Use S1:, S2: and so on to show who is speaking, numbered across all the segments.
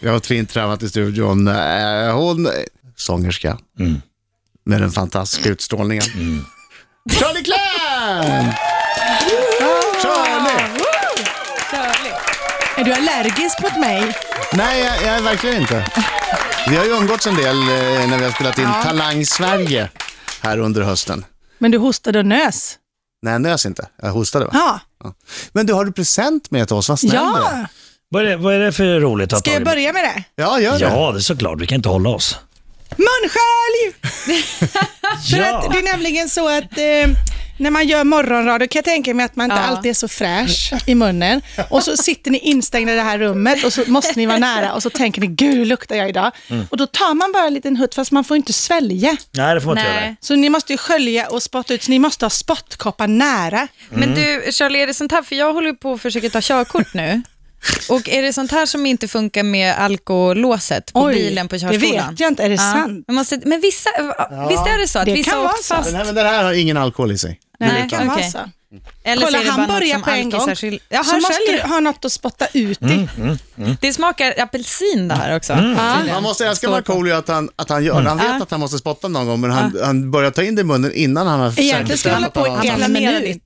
S1: Jag har Trint träffat i studion. Eh, Hon, sångerska, med den fantastiska utstrålningen. Charlie Clan! Charlie!
S2: Är du allergisk mot mig?
S1: Nej, jag, jag är verkligen inte. Vi har ju umgåtts en del eh, när vi har spelat in Talang Sverige här under hösten.
S2: Men du hostade och nös.
S1: Nej, nös inte. Jag hostade va?
S2: Ja.
S1: Ja. Men du, har du present med till oss? Vad snäll du är.
S2: ja.
S3: Vad är det, vad är det för roligt att
S2: Ska jag börja med det?
S1: Ja, gör det.
S3: Ja, det är såklart. Vi kan inte hålla oss.
S2: Munskölj! För att
S3: Ja.
S2: det är nämligen så att eh, när man gör morgonradio kan jag tänka mig att man inte
S4: Ja.
S2: alltid är så fräsch i munnen. Och så sitter ni instängda i det här rummet och så måste ni vara nära och så tänker ni, gud hur luktar jag idag?
S3: Mm.
S2: Och då tar man bara en liten hutt fast man får inte svälja.
S3: Nej, det får man inte
S4: Nej.
S3: göra.
S2: Så ni måste ju skölja och spotta ut, så ni måste ha spottkoppar nära.
S4: Men du, Charlie, är det sånt här, för jag håller ju på att försöka ta körkort nu. Och är det sånt här som inte funkar med alkolåset på
S2: Oj,
S4: bilen på
S2: det
S4: körskolan?
S2: vet jag inte. Är det sant?
S4: Man måste, men vissa, visst är det så att
S2: det
S4: vissa
S2: kan
S4: åkt
S2: vara så.
S4: fast?
S1: Den här, men den här har ingen alkohol i sig.
S4: Nej,
S2: Kan vara
S4: okej.
S2: så.
S4: Eller
S2: Kolla,
S4: så är det
S2: han
S4: bara något
S2: börjar
S4: som
S2: på en gång.
S4: alkisar skil- Ja,
S2: så
S4: han
S2: måste du
S4: sköljer.
S2: ha något att spotta ut i.
S4: Det smakar apelsin det här också. tydligen.
S1: Man måste älska
S4: Står på.
S1: Markoolio att han, att han gör
S2: Mm.
S1: Han vet att han måste spotta någon gång, men han, han börjar ta in det i munnen innan han har
S2: Egentligen ska jag hålla
S1: säkerställt
S2: på
S1: att han-
S2: i en
S4: planerade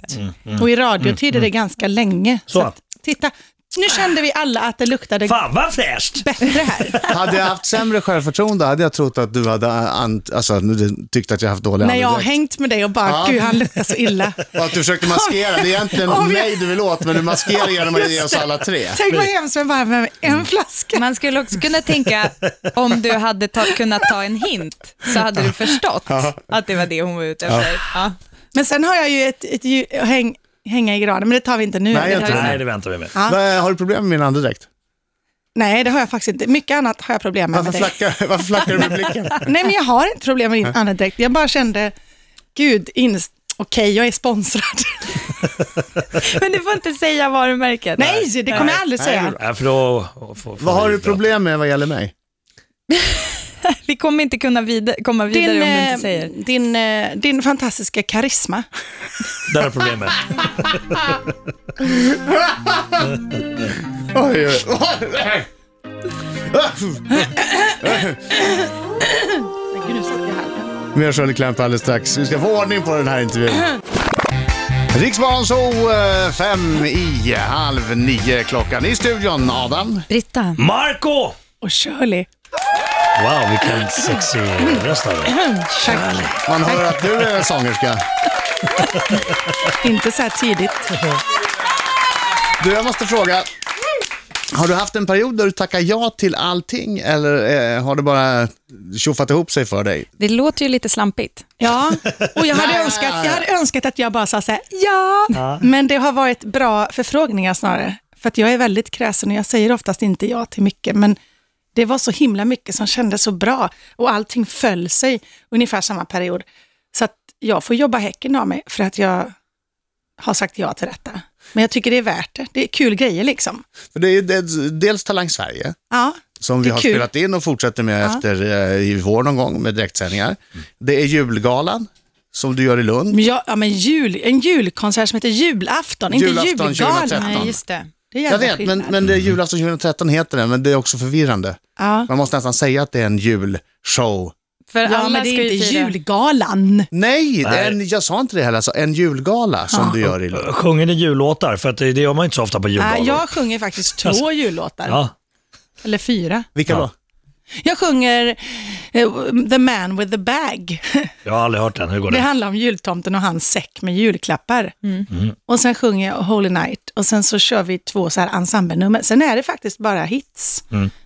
S2: minut. Och i radiotid är det ganska länge.
S3: Så.
S2: att, titta, nu kände vi alla att det luktade
S3: Fan vad fräscht!
S2: bättre här.
S1: Hade jag haft sämre självförtroende hade jag trott att du hade an, alltså, nu tyckte att jag haft dålig
S2: När jag har
S1: andedräkt.
S2: hängt med dig och bara,
S1: Ja.
S2: gud han luktar så illa.
S1: Och att du försökte maskera. Det är egentligen
S2: Om jag-
S1: mig du vill åt, men du maskerar genom att ge oss alla tre.
S2: Tänk vad hemskt med bara med en flaska.
S4: Man skulle också kunna tänka, om du hade ta, kunnat ta en hint, så hade du förstått att det var det hon var ute efter. Ja.
S2: Men sen har jag ju ett, ett ju, häng, hänga i granen, men det tar vi inte nu.
S1: Nej, jag
S2: det
S1: tror
S2: har,
S3: Nej, det väntar vi med.
S2: Ja.
S1: Vad- Har du problem med min andedräkt?
S2: nej, det har jag faktiskt inte. Mycket annat har jag problem med.
S1: Varför
S2: med dig.
S1: flackar, varför flackar du med blicken?
S2: Nej, men jag har inte problem med din andedräkt. Jag bara kände, gud, inst- okej, jag är sponsrad.
S4: Men du får inte säga varumärket.
S2: nej, det kommer jag aldrig säga.
S3: Nej, för då, får- får
S1: Vad har
S3: vi
S1: du
S3: bra-
S1: problem med vad gäller mig?
S4: Vi kommer inte kunna vid- komma vidare
S2: Din,
S4: om du
S2: eh,
S4: inte säger.
S2: din, eh, din fantastiska karisma.
S3: Där har problem med.
S1: Oj, oj, Ah! oj.
S2: Men gud, nu satt jag här.
S1: Mer Shirley Clamp alldeles strax. Vi ska få ordning på den här intervjun. Riksmorgonzoo eh, fem i halv nio klockan. I studion Adam.
S4: Britta.
S3: Marco!
S2: Och Shirley.
S3: Wow, vilken sexig röst han har.
S2: Tack.
S1: Man hör att du är sångerska.
S2: Inte så här tidigt.
S1: Du, jag måste fråga. Har du haft en period där du tackar ja till allting eller eh, har det bara tjoffat ihop sig för dig?
S4: Det låter ju lite slampigt.
S2: Ja, och jag hade, önskat, jag hade önskat att jag bara sa så här, ja. Men det har varit bra förfrågningar snarare. För att jag är väldigt kräsen och jag säger oftast inte ja till mycket. Men det var så himla mycket som kändes så bra och allting föll sig ungefär samma period. Så att jag får jobba häcken av mig för att jag har sagt ja till detta. Men jag tycker det är värt det. Det är kul grejer liksom.
S1: För det är ju dels- dels Talang Sverige,
S2: Ja,
S1: som
S2: Det
S1: vi
S2: är
S1: har
S2: kul.
S1: spelat in och fortsätter med efter eh, i vår någon gång med direktsändningar. Det är julgalan, som du gör i Lund.
S2: men, jag, ja, men jul, en julkonsert som heter Julafton, inte
S1: Julafton
S2: julgalan.
S1: 2013.
S2: Nej,
S4: just det.
S2: Det är
S1: Jag
S2: jävla
S1: vet, men,
S2: skillnad.
S1: men det är julafton 2013 heter den, men det är också förvirrande.
S2: Ja.
S1: Man måste nästan säga att det är en julshow.
S4: För
S2: Ja,
S4: alla
S2: men det
S4: ska
S2: är
S4: ju
S2: inte
S4: fira.
S2: julgalan.
S1: Nej, det är
S3: Nej.
S1: en, jag sa inte det heller, alltså en julgala som du gör i Lund.
S3: Sjunger ni jullåtar? För att det det gör man inte så ofta på
S2: Nej,
S3: julgalor.
S2: jag sjunger faktiskt
S1: Alltså,
S2: två jullåtar,
S3: Ja.
S2: eller fyra.
S1: Vilka
S3: Ja.
S1: då?
S2: Jag sjunger eh, The man with the bag.
S3: Jag har aldrig hört den. Hur går
S2: Det
S3: det?
S2: handlar om jultomten och hans säck med julklappar. Och sen sjunger jag Holy Night och sen så kör vi två så här ensemblenummer. Sen är det faktiskt bara hits.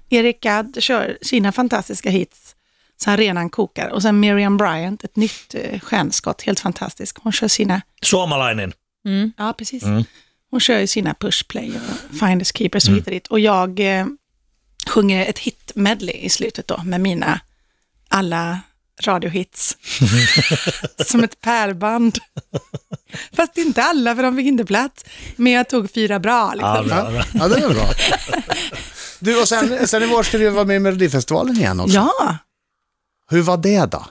S2: Eric Gadd kör sina fantastiska hits. Sen renan kokar. Och sen Miriam Bryant, ett nytt eh, stjärnskott, helt fantastisk. Hon kör sina
S3: Suomalainen.
S2: Ja, precis. Hon kör ju sina pushplay och finders keepers och hit och dit. Och jag eh, sjunger ett hit-medley i slutet då med mina alla radiohits. Som ett pärlband. Fast inte alla, för de fick inte plats. Men jag tog fyra bra. Liksom.
S3: Ja, bra, bra.
S1: Ja, det är bra. Du, och sen, sen i vår ska du vara med i Melodifestivalen igen också.
S2: ja,
S1: Hur var det då?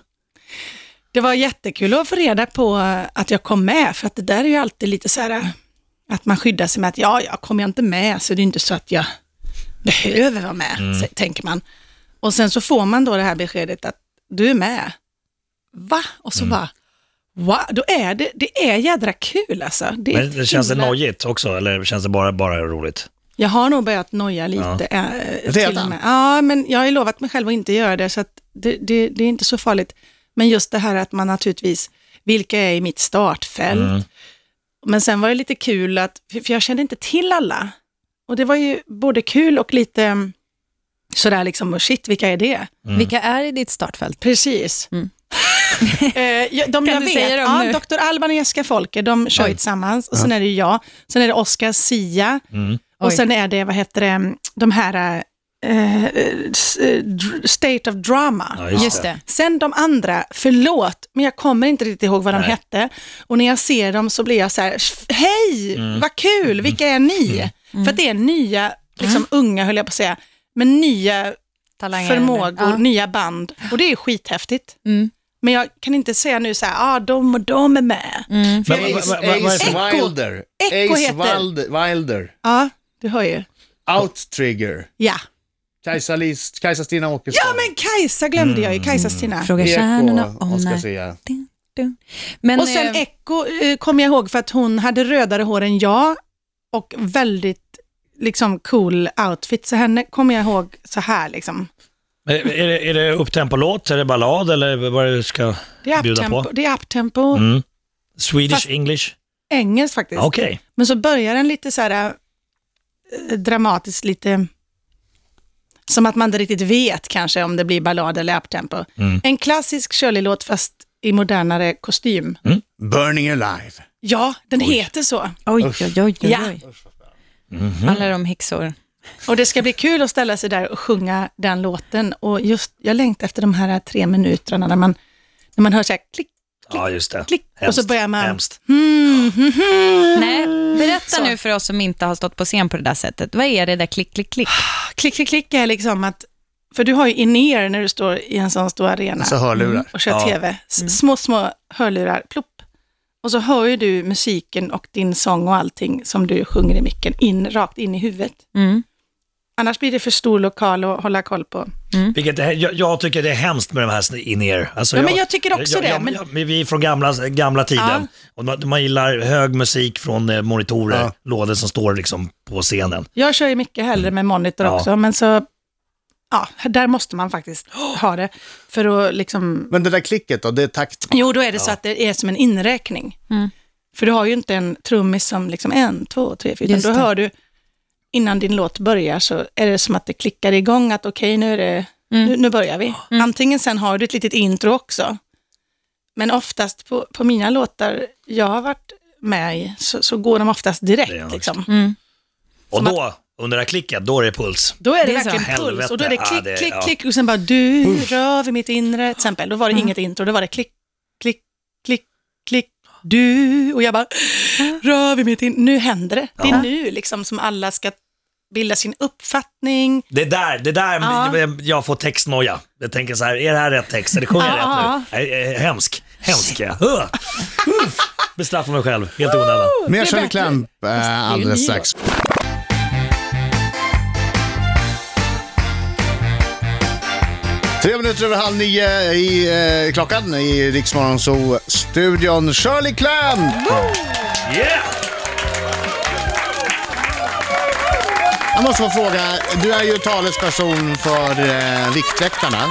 S2: det var jättekul att få reda på eh, att jag kom med, för att det där är ju eh, alltid lite så här att man skyddar sig med att ja, ja, kommer jag inte med så det är inte så att jag behöver vara med,
S3: Mm.
S2: så- tänker man. Och sen så får man då det här beskedet att du är med. Va? Och
S3: Mm.
S2: så bara, wow, då är det, det är jädra kul alltså. Det är
S3: Men det känns det
S2: himla-
S3: nojigt också, eller känns det bara, bara roligt?
S2: Jag har nog börjat noja lite. Ja. Till
S1: Redan?
S2: och med. Ja, men jag har ju lovat mig själv att inte göra det, så att det, det, det är inte så farligt. Men just det här att man naturligtvis, vilka är i mitt startfält? Men sen var det lite kul att, för för jag kände inte till alla. Och det var ju både kul och lite mm, sådär liksom, oh shit, vilka är det?
S4: Vilka är i ditt startfält?
S2: Precis.
S4: Mm.
S2: Eh, jag- de
S4: Kan
S2: jag
S4: du
S2: vet,
S4: säga dem
S2: ja,
S4: nu?
S2: Dr. Alban och Jessica Folke, de kör ju tillsammans. Och sen är det ju jag, sen är det Oscar Sia,
S3: Mm.
S2: och
S4: Oj.
S2: sen är det, vad heter det, de här eh, eh, s- eh, dr- State of Drama.
S3: Ja, just,
S4: Just
S3: det.
S4: det.
S2: Sen de andra, förlåt, men jag kommer inte riktigt ihåg vad de
S3: Nej.
S2: hette. Och när jag ser dem så blir jag så här, hej,
S3: Mm.
S2: vad kul, vilka är ni? För att det är nya,
S4: Mm.
S2: liksom unga höll jag på att säga, men nya
S4: Talanger.
S2: förmågor,
S4: Ja.
S2: nya band. Och det är skithäftigt.
S4: Mm.
S2: Men jag kan inte säga nu så här, ah, de och de är med.
S4: Mm.
S3: Men vad- vad- vad- vad är
S1: Ace
S3: det-
S2: Echo.
S1: Wilder.
S2: Echo
S1: Ace
S2: heter-
S1: Wilde- Wilder.
S2: Ja, du hör ju.
S1: Outtrigger.
S2: Ja.
S1: Kajsa, Lis, Kajsa Stina Åkesson.
S2: Ja, men Kajsa glömde
S3: Mm.
S2: jag ju, Kajsa-Stina.
S4: Fråga stjärnorna
S1: Eko,
S4: om
S1: Oscar
S4: när...
S1: Zia.
S4: Men,
S2: och sen
S4: eh,
S2: Echo eh, kommer jag ihåg för att hon hade rödare hår än jag och väldigt liksom cool outfit. Så henne kommer jag ihåg så här liksom.
S3: Men Är det, är det upptempo-låt, är det ballad eller vad är det du ska
S2: Det är
S3: bjuda
S2: uptempo,
S3: på?
S2: det är uptempo
S3: Mm. Swedish
S2: Fast-
S3: English?
S2: engelskt faktiskt.
S3: Okej.
S2: Men så börjar den lite så här eh, dramatiskt, lite som att man inte riktigt vet kanske om det blir ballad eller uptempo.
S3: Mm.
S2: En klassisk Shirley-låt fast i modernare kostym.
S3: Mm.
S1: Burning Alive.
S2: Ja, den heter så.
S4: Oj, oj, oj. oj, oj.
S2: Ja.
S4: Alla de häxor.
S2: Och det ska bli kul att ställa sig där och sjunga den låten. Och just, jag längtar efter de här eh, tre minuterna när man, när man hör så här klick,
S3: Ja, just det.
S2: klick, och så
S3: Hemskt,
S2: börjar man...
S3: Hemskt.
S2: Hmm, hmm, hmm.
S4: Nej, berätta
S2: Så.
S4: nu för oss som inte har stått på scen på det där sättet. Vad är det där klick, klick, klick?
S2: Klick, klick, klick är liksom att... För du har ju in-ear när du står i en sån stor arena
S3: Alltså,
S1: Så hörlurar.
S2: Mm, och kör
S3: Ja. Mm.
S2: tv. S- Små, små hörlurar, plopp. Och så hör ju du musiken och din sång och allting som du sjunger i micken, in, rakt in i huvudet.
S4: Mm.
S2: Annars blir det för stor lokal att hålla koll på.
S3: Vilket, är- jag, jag tycker det är hemskt med de här sn- in-ear. Alltså,
S2: Mm. Ja, men jag tycker också det, men-
S3: jag- vi är från gamla, gamla tiden. Och man, man gillar hög musik från eh, monitorer,
S1: Ja.
S3: lådor som står liksom på scenen.
S2: Jag kör ju mycket hellre med monitor
S3: Ja.
S2: också, men så... Ja, där måste man faktiskt ha det. För att liksom...
S1: Men det där klicket då, det är takt.
S2: Jo, då är det så att det är som en inräkning.
S4: Mm.
S2: För du har ju inte en trummis som liksom en, två, tre, fyra, utan
S4: Just
S2: då
S4: det.
S2: hör du innan din låt börjar så är det som att det klickar igång att okej, nu, är det,
S4: Mm.
S2: nu, nu börjar vi. Antingen sen har du ett litet intro också, men oftast på, på mina låtar jag har varit med i så, så går de oftast direkt.
S3: Ja, just
S2: liksom.
S3: Och
S2: Som
S3: då, under det här klicket, då är det puls.
S2: Då är det,
S4: Det är så.
S2: verkligen puls
S3: Helvete.
S2: och då är det
S3: Ja,
S2: klick,
S3: det-
S2: klick,
S3: ja.
S2: klick och sen bara du rör vid mitt inre till exempel. Då var det inget intro, då var det klick, klick, klick, klick, du och jag bara rör vid mitt inre. Nu händer det. Det är
S3: Ja.
S2: nu liksom som alla ska bilda sin uppfattning.
S3: Det där, det där
S2: Ja.
S3: jag, jag får textnoja. Jag tänker så här, är det här rätt text? Är det sjunger jag
S2: Ja.
S3: rätt nu? Nej, eh, Hemsk, hemsk jag. Huh. Uff. Bestraffar mig själv, helt i onödan.
S1: Mer
S2: Det är
S1: Shirley
S2: bättre.
S1: Clamp eh, alldeles
S2: ny
S1: strax. Tre minuter över halv nio i eh, klockan i Riksmorgon så studion Shirley Clamp!
S3: Yeah!
S1: Jag måste få fråga, du är ju talesperson för eh, Viktväktarna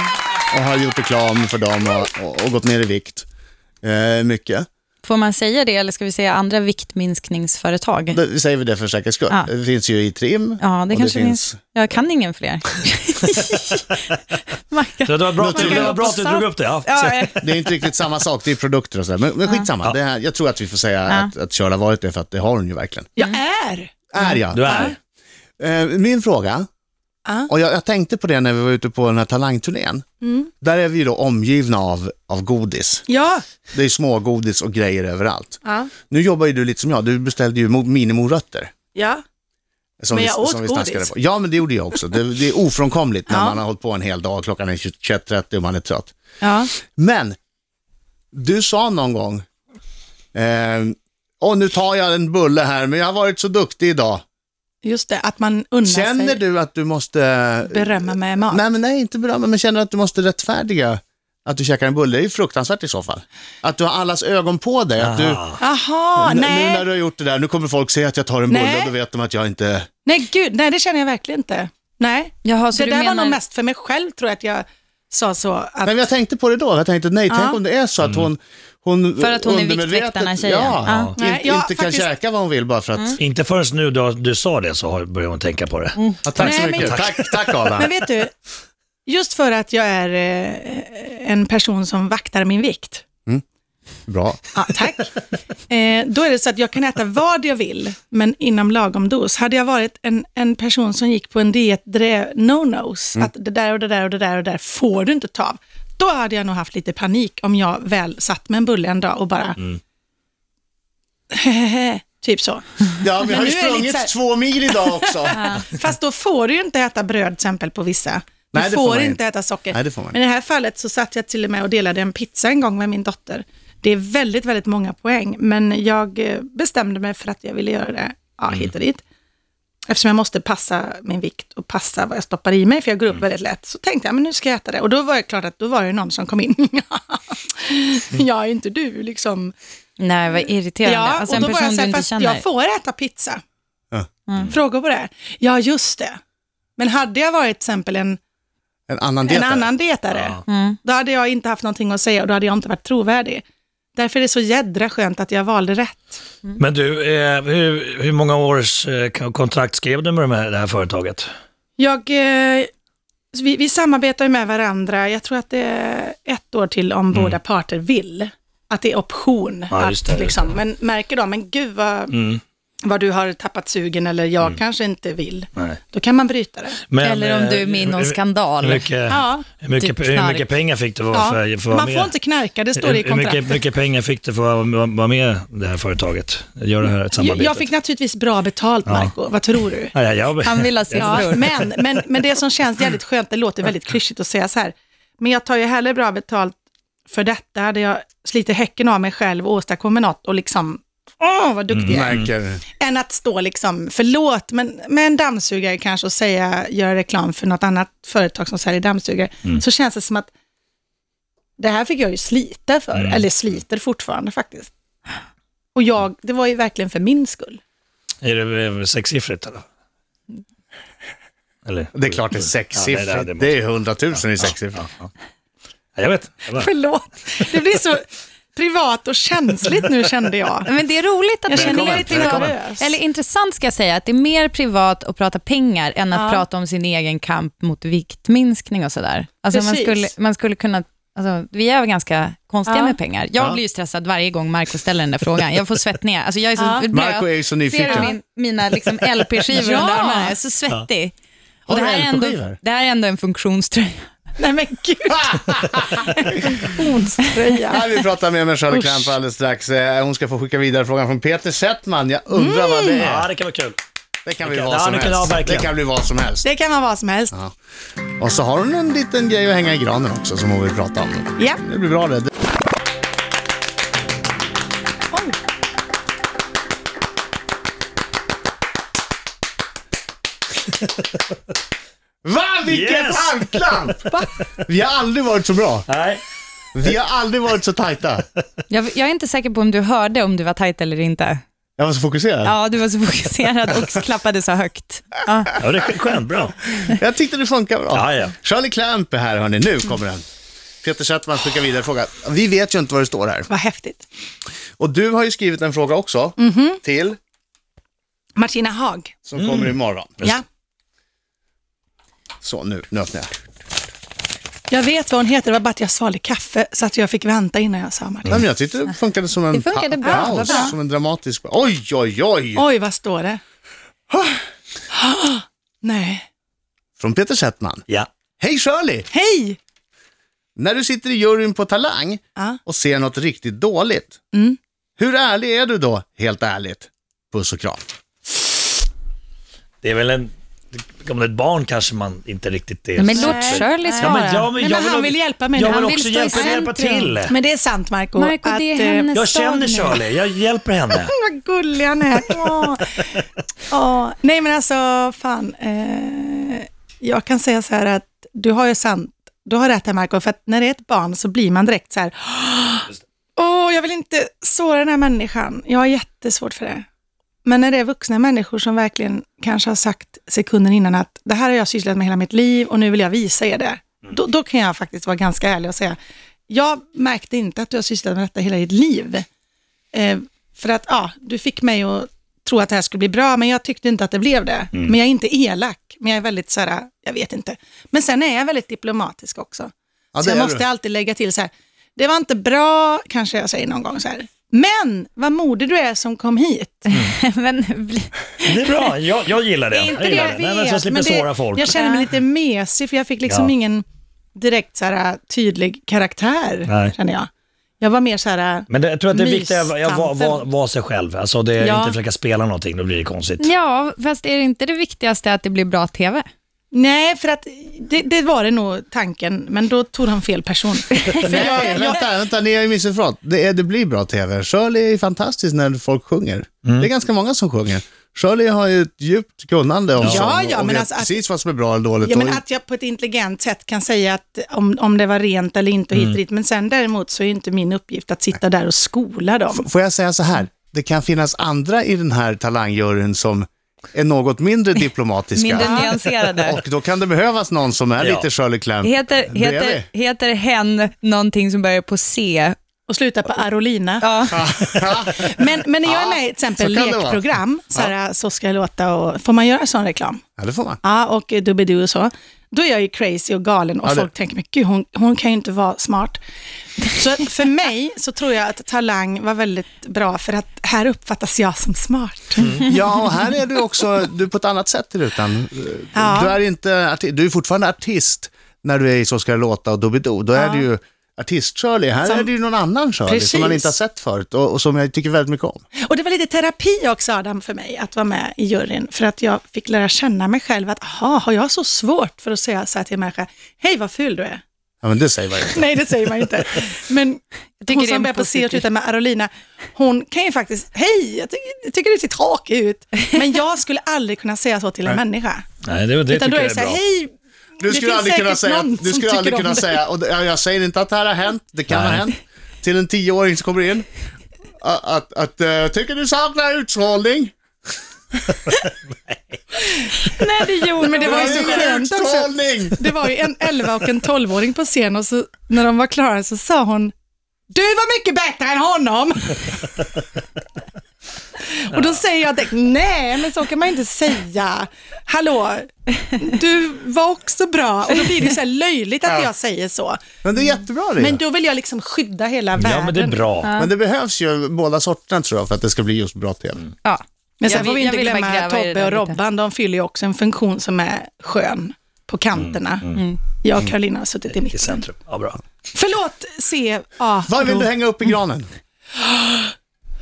S1: och har gjort reklam för dem och, och, och gått ner i vikt eh, mycket.
S4: Får man säga det eller ska vi säga andra viktminskningsföretag?
S1: Då säger vi det för säkerhets skull.
S4: Ja.
S1: Det finns ju i Trim.
S4: Ja, det
S1: och
S4: kanske finns. Jag kan ingen fler. Mackan.
S3: Så det var bra,
S1: Låter
S3: det var bra att du drog upp det. Ja.
S4: Ja, eh,
S1: Det är inte riktigt samma sak, det är produkter och sådär. Men, men skitsamma, det här, jag tror att vi får säga att, att Köla varit det för att det har hon ju verkligen.
S2: Jag är.
S1: Är jag?
S3: Du är.
S1: Eh, Min fråga,
S2: Ja.
S1: och jag, jag tänkte på det när vi var ute på den här talangturnén.
S2: Mm.
S1: Där är vi ju då omgivna av, av godis.
S2: Ja.
S1: Det är smågodis och grejer överallt. Nu jobbar ju du lite som jag, du beställde ju mo- minimorötter.
S2: Ja.
S1: Som
S2: Men jag åt
S1: snackade
S2: godis.
S1: på. Ja, men det gjorde jag också. Det, det är ofrånkomligt när
S2: Ja.
S1: man har hållit på en hel dag, klockan är 21.30 och man är trött.
S2: ja.
S1: Men, du sa någon gång, eh, åh nu tar jag en bulle här, men jag har varit så duktig idag.
S2: Just det, att man unnar
S1: Känner
S2: sig
S1: du att du måste...
S2: berömma med mat.
S1: Nej, men nej, inte berömma, men känner du att du måste rättfärdiga att du käkar en bulle? Det är ju fruktansvärt i så fall. Att du har allas ögon på dig. Att du,
S3: Ah.
S2: Jaha,
S1: N- Nu när
S2: nej.
S1: du har gjort det där, nu kommer folk säga att jag tar en
S2: Nej.
S1: bulle, då vet de att jag inte...
S2: Nej, gud, nej, det känner jag verkligen inte. Nej,
S4: Jaha, så
S2: det
S4: Alltså, du
S2: där
S4: menar...
S2: var nog mest för mig själv tror jag att jag sa så. Att,
S1: Nej, men jag tänkte på det då, jag tänkte nej, tänk om det är så att hon... hon
S4: För att hon är
S1: undermedvetet-
S4: Viktväktarna-tjejen.
S1: Ja,
S4: Ja.
S1: inte,
S2: Nej, jag
S1: inte kan
S2: faktiskt-
S1: käka vad hon vill bara för att...
S2: Mm.
S3: Inte förrän nu då du sa det så har- börjar hon tänka på det.
S1: Ja, tack så
S2: Nej,
S1: mycket.
S2: men-
S1: Tack, tack Adam.
S2: Men vet du, just för att jag är eh, en person som vaktar min vikt,
S1: Bra.
S2: ja, tack, eh, då är det så att jag kan äta vad jag vill, men inom lagom dos. Hade jag varit en, en person som gick på en diet där det är no-nos, att det där och det där och det där och det där får du inte ta av, då hade jag nog haft lite panik om jag väl satt med en bulle en dag och bara, typ så.
S1: Ja, men jag har ju
S2: nu är det lite
S1: sprungit
S2: så här-
S1: två mil idag också.
S2: Fast då får du ju inte äta bröd till exempel på vissa. Du
S1: Nej, det
S2: får,
S1: får man
S2: inte
S1: inte.
S2: äta socker.
S1: Nej, det får man
S2: Men i det här fallet så satt jag till och med och delade en pizza en gång med min dotter. Det är väldigt, väldigt många poäng, men jag eh, bestämde mig för att jag ville göra det ja,
S1: Mm.
S2: hit och dit. Eftersom jag måste passa min vikt och passa vad jag stoppar i mig, för jag går upp
S1: Mm.
S2: väldigt lätt, så tänkte jag, men nu ska jag äta det. Och då var det klart att då var det någon som kom in. jag är inte du, liksom.
S4: Nej, vad irriterande. alltså en
S2: och då var
S4: person
S2: jag så
S4: du
S2: här,
S4: inte
S2: fast
S4: känner. Mm.
S2: jag får äta pizza.
S1: Ja.
S2: Frågor på det? Ja, just det. Men hade jag varit till exempel en,
S1: En annan diet.
S2: en annan dietare,
S4: Mm.
S2: då hade jag inte haft någonting att säga och då hade jag inte varit trovärdig. Därför är det så jädra skönt att jag valde rätt.
S3: Men du, eh, hur, hur många års eh, k- kontrakt skrev du med de här, det här företaget?
S2: Jag, eh, så vi, vi samarbetar ju med varandra, jag tror att det är ett år till om båda parter vill. Att det är option.
S3: Mm. Ja, just det,
S2: att,
S3: just
S2: liksom,
S3: det. Mm.
S2: Men märker de, men gud vad, vad du har tappat sugen eller jag kanske inte vill.
S3: Nej.
S2: Då kan man bryta det.
S3: Men,
S4: Eller om du är med i
S3: eh,
S4: någon
S3: hur-
S4: skandal.
S3: Hur mycket,
S2: Ja,
S3: hur mycket,
S4: typ
S3: hur
S4: knark.
S3: mycket pengar fick du för,
S2: Ja,
S3: för, för att vara
S2: man
S3: med?
S2: får inte knarka, det står det i
S3: hur
S2: kontraktet.
S3: mycket, mycket pengar fick du för att vara- vara med i det här företaget? Gör det här
S2: Jag-
S3: samarbetet?
S2: jag fick naturligtvis bra betalt, Marco. Vad tror du?
S3: Nej, jag,
S4: Han vill ha siffror.
S2: Ja, men, men, men det som känns jävligt skönt, det låter väldigt klyschigt att säga så här, men jag tar ju hellre bra betalt för detta, där jag sliter häcken av mig själv och åstadkommer något och liksom, åh vad duktig
S3: Mm.
S2: jag är.
S1: Märker.
S2: Än att stå liksom, förlåt, men med en dammsugare kanske och säga, göra reklam för något annat företag som säljer dammsugare, så känns det som att det här fick jag ju slita för, eller sliter fortfarande faktiskt. Och jag, det var ju verkligen för min skull.
S3: Är det eh, sexsiffrigt eller? eller?
S1: Det är klart det är sexsiffrigt.
S3: Ja, det-
S1: det,
S3: det- det
S1: är hundratusen i sexsiffrigt.
S3: Ja, ja. Jag vet. Jag bara-
S2: Förlåt, det blir så privat och känsligt nu kände jag.
S4: Men det är roligt att
S2: Jag
S4: det är
S2: känner
S4: mer
S2: mig lite nervös.
S4: privat, eller intressant ska jag säga, att det är mer privat att prata pengar än att
S2: Ja.
S4: prata om sin egen kamp mot viktminskning och sådär. Alltså man
S2: Precis.
S4: skulle, man skulle kunna, alltså, vi är väl ganska konstiga
S2: Ja.
S4: med pengar. Jag blir ju stressad varje gång Marco ställer den där frågan. Jag får svettningar. Alltså jag är så
S2: Ja.
S4: blöt.
S1: Marco är ju så
S4: Ser du
S1: nyfiken.
S4: min, mina liksom LP-skivor
S2: Ja.
S4: under armarna? Jag är så svettig. Och
S1: Har
S4: det,
S1: du
S4: här är ändå,
S1: LP-skivor?
S4: det här är ändå en funktionströja.
S2: Nej men gud. Funktionströja.
S1: Här vi pratar med med Charlotte Kramp alldeles strax. Eh, Hon ska få skicka vidare frågan från Peter Settman. Jag undrar vad det
S2: Mm.
S3: Ja,
S1: är.
S3: det kan vara kul.
S1: Det kan bli
S3: det-
S1: vad
S3: ja,
S1: som
S3: det kan- ja,
S1: helst. Det
S3: verkligen.
S1: kan bli vad som helst.
S2: Det kan vara vad som helst.
S1: Och så har hon en liten grej att hänga i granen också som hon vill prata om.
S2: Ja.
S1: Det blir bra det.
S2: Oj.
S1: Va? Vilket
S3: Yes!
S1: handklamp! Vi har aldrig varit så bra.
S3: Nej.
S1: Vi har aldrig varit så tajta.
S4: Jag, jag är inte säker på om du hörde om du var tajt eller inte.
S1: Jag var så fokuserad.
S4: Ja, du var så fokuserad och klappade så högt. Ja.
S3: Ja, det är skönt. Bra.
S1: Jag tyckte det funkar bra.
S3: Ja, ja.
S1: Charlie Clamp är här hörni, nu kommer den. Peter Settman skickar vidare fråga. Vi vet ju inte vad det står här.
S2: Vad häftigt.
S1: Och du har ju skrivit en fråga också
S4: Mhm.
S1: till,
S2: Martina Haag.
S1: som
S4: Mm.
S1: kommer imorgon.
S2: Ja.
S1: Så nu, nu öppnar jag.
S2: Jag vet vad hon heter, det var bara att jag svalde kaffe så att jag fick vänta innan jag sa Martina.
S1: Nej, men jag tyckte det funkade som en
S4: Det funkade
S1: pa-
S4: bra,
S1: paus,
S4: vad bra.
S1: som en dramatisk... Oj, oj,
S3: Mm.
S1: oj!
S2: Oj, vad står det? Nej.
S1: Från Peter Settman.
S3: Ja.
S1: Hej Shirley!
S2: Hej!
S1: När du sitter i juryn på Talang
S2: Ja.
S1: och ser något riktigt dåligt,
S2: Mm.
S1: hur ärlig är du då, helt ärligt? Puss och kram.
S3: Det är väl en om det är ett barn kanske man inte riktigt är...
S4: Men låt
S2: Nej.
S4: Shirley
S2: Nej.
S4: svara.
S3: ja, men, ja, men,
S2: Men
S3: jag
S2: han
S3: o-
S2: vill hjälpa människor.
S3: Jag vill
S2: Han
S3: också
S4: vill stå i
S3: hjälpa, hjälpa
S4: centrum.
S3: till.
S2: Men det är sant, Marco.
S5: Marco, det är
S2: eh,
S5: hennes
S3: Jag känner
S5: dag nu.
S3: Shirley, jag hjälper henne.
S2: Vad gullig han är. Åh. Åh. Nej, men alltså, fan. Eh, jag kan säga så här att du har ju sant, du har rätt här Marco, för att när det är ett barn så blir man direkt så här, åh, jag vill inte såra den här människan. Jag har jättesvårt för det. Men när det är vuxna människor som verkligen kanske har sagt sekunden innan att det här har jag sysslat med hela mitt liv och nu vill jag visa er det.
S1: Mm.
S2: Då, då kan jag faktiskt vara ganska ärlig och säga, jag märkte inte att du har sysslat med detta hela ditt liv. Eh, för att ja, du fick mig att tro att det här skulle bli bra, men jag tyckte inte att det blev det.
S1: Mm.
S2: Men jag är inte elak, men jag är väldigt så här, jag vet inte. Men sen är jag väldigt diplomatisk också.
S1: Ja,
S2: så
S1: det
S2: jag
S1: är
S2: måste
S1: du.
S2: alltid lägga till så här, det var inte bra, kanske jag säger någon gång så här. Men vad modig du är som kom hit.
S4: men, bli-
S3: Det är bra, jag, jag gillar det.
S4: Inte
S3: jag gillar
S4: det jag
S3: Nej, men så jag
S2: vet,
S3: slipper
S2: men det-
S3: såra folk.
S2: Jag känner mig lite mesig, för jag fick liksom
S3: Ja.
S2: ingen direkt så här, äh, tydlig karaktär,
S3: Nej.
S2: känner jag. Jag var mer så här, äh,
S3: Men det, jag tror att det är viktigt att vara var, var,
S2: Mystanten.
S3: var sig själv. Alltså det är
S2: Ja.
S3: inte försöka spela någonting, då blir det konstigt.
S4: ja, fast är det inte det viktigaste att det blir bra TV?
S2: Nej, för att det, det var det nog tanken, men då tog han fel person. För jag,
S1: Nej, vänta, vänta, ni har ju missförstått. Det, är- det blir bra tv. Shirley är fantastisk när folk sjunger. Det är ganska många som sjunger. Shirley har ju ett djupt kunnande om
S2: Ja,
S1: sång
S2: ja,
S1: och
S2: men
S1: vet
S2: alltså att-
S1: precis vad som är bra eller dåligt.
S2: ja, men
S1: Och-
S2: att jag på ett intelligent sätt kan säga att om, om det var rent eller inte och
S3: Mm.
S2: hit och dit, men sen däremot så är ju inte min uppgift att sitta där och skola dem.
S1: F- Får jag säga så här, det kan finnas andra i den här talangjuryn som är något mindre diplomatiska.
S4: Mindre nyanserade.
S1: Och då kan det behövas någon som är
S3: Ja.
S1: lite Shirley Clamp.
S4: Heter,
S1: Det är
S4: heter, heter hen någonting som börjar på C?
S2: Och sluta på Arolina.
S4: Ja.
S2: Men, men när jag är med i till exempel
S1: så kan det vara.
S2: lekprogram, så, här, äh, så ska jag låta och, får man göra sån reklam?
S1: Ja, det får man.
S2: Ja, och eh, Doobidoo och så. Då är jag ju crazy och galen och
S1: Ja, det-
S2: folk tänker, men gud, hon, hon kan ju inte vara smart. Så för mig så tror jag att Talang var väldigt bra, för att här uppfattas jag som smart.
S1: Ja, och här är du också, du är på ett annat sätt i rutan.
S2: Ja.
S1: Du är inte arti- du är fortfarande artist när du är i Så ska det låta och Doobidoo. Då är du ju artist-Shirley. Här
S2: Som-
S1: är det ju någon annan Shirley
S2: Precis.
S1: som man inte har sett förut och, och som jag tycker väldigt mycket om.
S2: Och det var lite terapi också, Adam, för mig att vara med i juryn, för att jag fick lära känna mig själv att, aha, har jag så svårt för att säga så här till en människa, hej vad ful du är.
S1: Ja, men det säger man ju.
S2: Nej, det säger man ju inte. Men
S4: tycker
S2: hon
S4: det är
S2: som
S4: en
S2: börjar på C och
S4: positiv-
S2: slutar med Arolina, hon kan ju faktiskt, hej, jag tycker, jag tycker du ser tråkig ut. Men jag skulle aldrig kunna säga så till en människa.
S3: Nej, det, det
S2: Utan
S3: tycker
S2: då är
S3: jag
S2: det
S3: är
S2: så här,
S3: bra.
S2: hej,
S1: Du skulle
S2: finns
S1: aldrig kunna
S2: säkert
S1: säga,
S2: någon
S1: du
S2: som
S1: skulle
S2: tycker
S1: aldrig
S2: om
S1: kunna
S2: det.
S1: säga, och det- jag, jag säger inte att det här har hänt, det kan ha
S3: Nej.
S1: hänt, till en tioåring som kommer in, att, att, att eh, tycker du saknar utstrålning?
S4: Nej, det gjorde
S2: Men det var ju så skönt också.
S1: utstrålning!
S2: Det var ju en 11 och en 12-åring på scen och så, när de var klara så sa hon, du var mycket bättre än honom. Och då säger jag direkt, nej men så kan man inte säga. Hallå, du var också bra. Och då blir det så här löjligt att jag säger så.
S1: Men det är jättebra det.
S2: Men då vill jag liksom skydda hela världen.
S3: Ja, men det är bra.
S1: Men det behövs ju båda sorterna tror jag för att det ska bli just bra tv.
S3: Mm.
S4: Ja.
S2: Men sen
S4: Jag
S2: får vi
S4: vill-
S2: inte
S4: jag ville bara
S2: glömma
S4: gräva i det
S2: Tobbe och
S4: där lite.
S2: Robban, de fyller ju också en funktion som är skön på kanterna. Jag och Karolina har suttit i
S3: I
S2: mitten.
S3: centrum. Mm. Ja, bra.
S2: Förlåt, C. A.
S1: Vad vill du hänga upp i granen?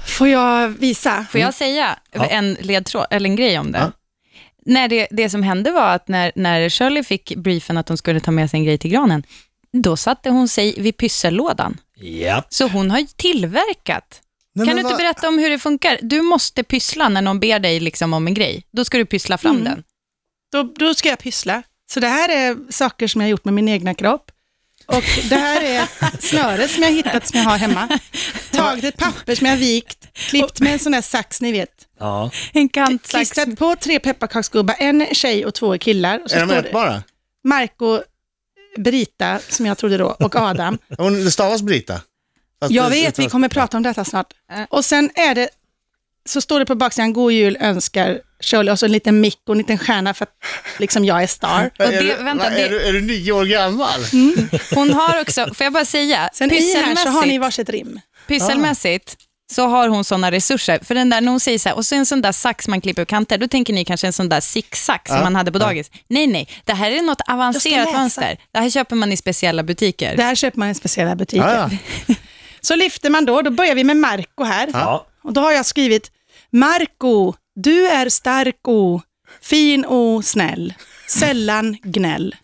S2: Får jag visa?
S1: Mm.
S4: Får jag säga en ledtråd, eller en grej om det? När det, det som hände var att när, när Shirley fick briefen att hon skulle ta med sig en grej till granen, då satte hon sig vid pyssellådan.
S3: Ja.
S4: Så hon har ju tillverkat.
S1: Nej,
S4: kan
S1: men
S4: du inte
S1: vad-
S4: berätta om hur det funkar? Du måste pyssla när någon ber dig liksom om en grej. Då ska du pyssla fram den.
S2: Då, då ska jag pyssla. Så det här är saker som jag har gjort med min egna kropp. Och det här är snöret som jag har hittat som jag har hemma. Tagit ett papper som jag har vikt, klippt med en sån där sax ni vet.
S3: ja.
S4: En kantsax.
S2: Klistrat på tre pepparkaksgubbar, en tjej och två killar. Och så
S1: Är de
S2: står det
S1: ätbara?
S2: Marco, Brita, som jag trodde då, och Adam.
S1: Hon, det stavas Brita. Fast
S2: Jag
S1: det-
S2: vet, vi kommer prata om detta snart. Och sen är det, så står det på baksidan, God Jul önskar Shirley, och så en liten mick och en liten stjärna för att liksom jag är star.
S4: Och
S1: är,
S4: det,
S1: du,
S4: vänta,
S1: va, är,
S4: det,
S1: du, är du nio år gammal?
S4: hon har också, får jag bara säga,
S2: Sen i här så har ni varsitt rim.
S4: Pysselmässigt så har hon sådana resurser. För den där, när hon säger så här, och så en sån där sax man klipper ur kanter, då tänker ni kanske en sån där zigzag som man hade på dagis. Nej, nej, det här är något avancerat
S2: läsa.
S4: mönster. Det här köper man i speciella butiker.
S2: Det här köper man i speciella butiker.
S1: Ja,
S2: Så lyfter man då, då börjar vi med Marco här.
S3: Ja.
S2: Och då har jag skrivit, Marco, du är starko, Fin och snäll. Sällan gnäll.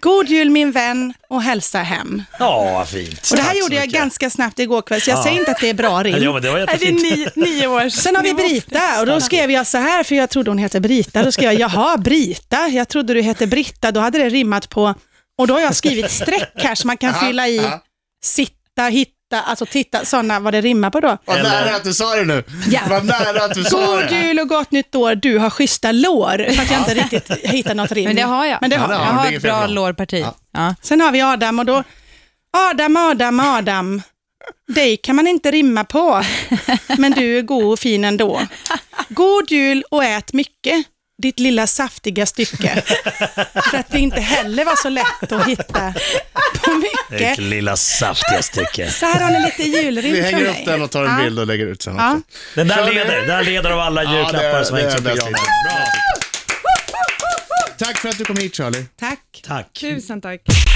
S2: God jul min vän och hälsa hem.
S3: Ja, vad fint.
S2: Och det här
S3: Tack så
S2: gjorde jag
S3: mycket.
S2: ganska snabbt igår kväll, så jag säger inte att det är bra rim.
S3: Ja, men det var
S4: Nej, det är
S3: jättefint.
S4: nio, nio år
S2: Sen har vi Brita och då skrev jag så här, för jag trodde hon hette Brita. Då skrev jag, jaha, Brita, jag trodde du hette Britta. Då hade det rimmat på, och då har jag skrivit streck här så man kan fylla i
S1: ja.
S2: sitta, hitta, alltså titta, sådana vad det rimmar på då.
S1: Vad
S3: Eller-
S1: nära att du sa det nu.
S2: Ja.
S1: Vad nära att du sa
S2: God
S1: det.
S2: jul och gott nytt år, du har schyssta lår. För att jag inte riktigt hittar något rim.
S4: Men det har jag.
S2: Men det har
S1: Ja,
S4: jag
S1: det har du.
S4: har
S1: Det är
S4: ett bra
S1: fel.
S4: lårparti. Ja.
S2: Sen har vi Adam och då, Adam, Adam, Adam. Dig kan man inte rimma på, men du är god och fin ändå. God jul och ät mycket, ditt lilla saftiga stycke. För att det inte heller var så lätt att hitta på
S3: Det
S2: mycket.
S3: lilla saftiga stycke.
S2: Så här har ni lite
S1: Vi
S2: julrim från
S1: hänger upp den
S2: mig.
S1: och tar en
S2: Ja.
S1: bild och lägger ut sen
S2: Ja.
S1: också.
S3: Den där
S1: Kör vi.
S3: leder, den där leder av alla julklappar
S1: det är-
S3: som har hängts
S1: det
S3: upp
S1: är
S3: i
S1: bäst.
S3: granen. Bra.
S1: Tack för att du kom hit Charlie.
S2: Tack.
S3: Tack.
S4: Tusen tack.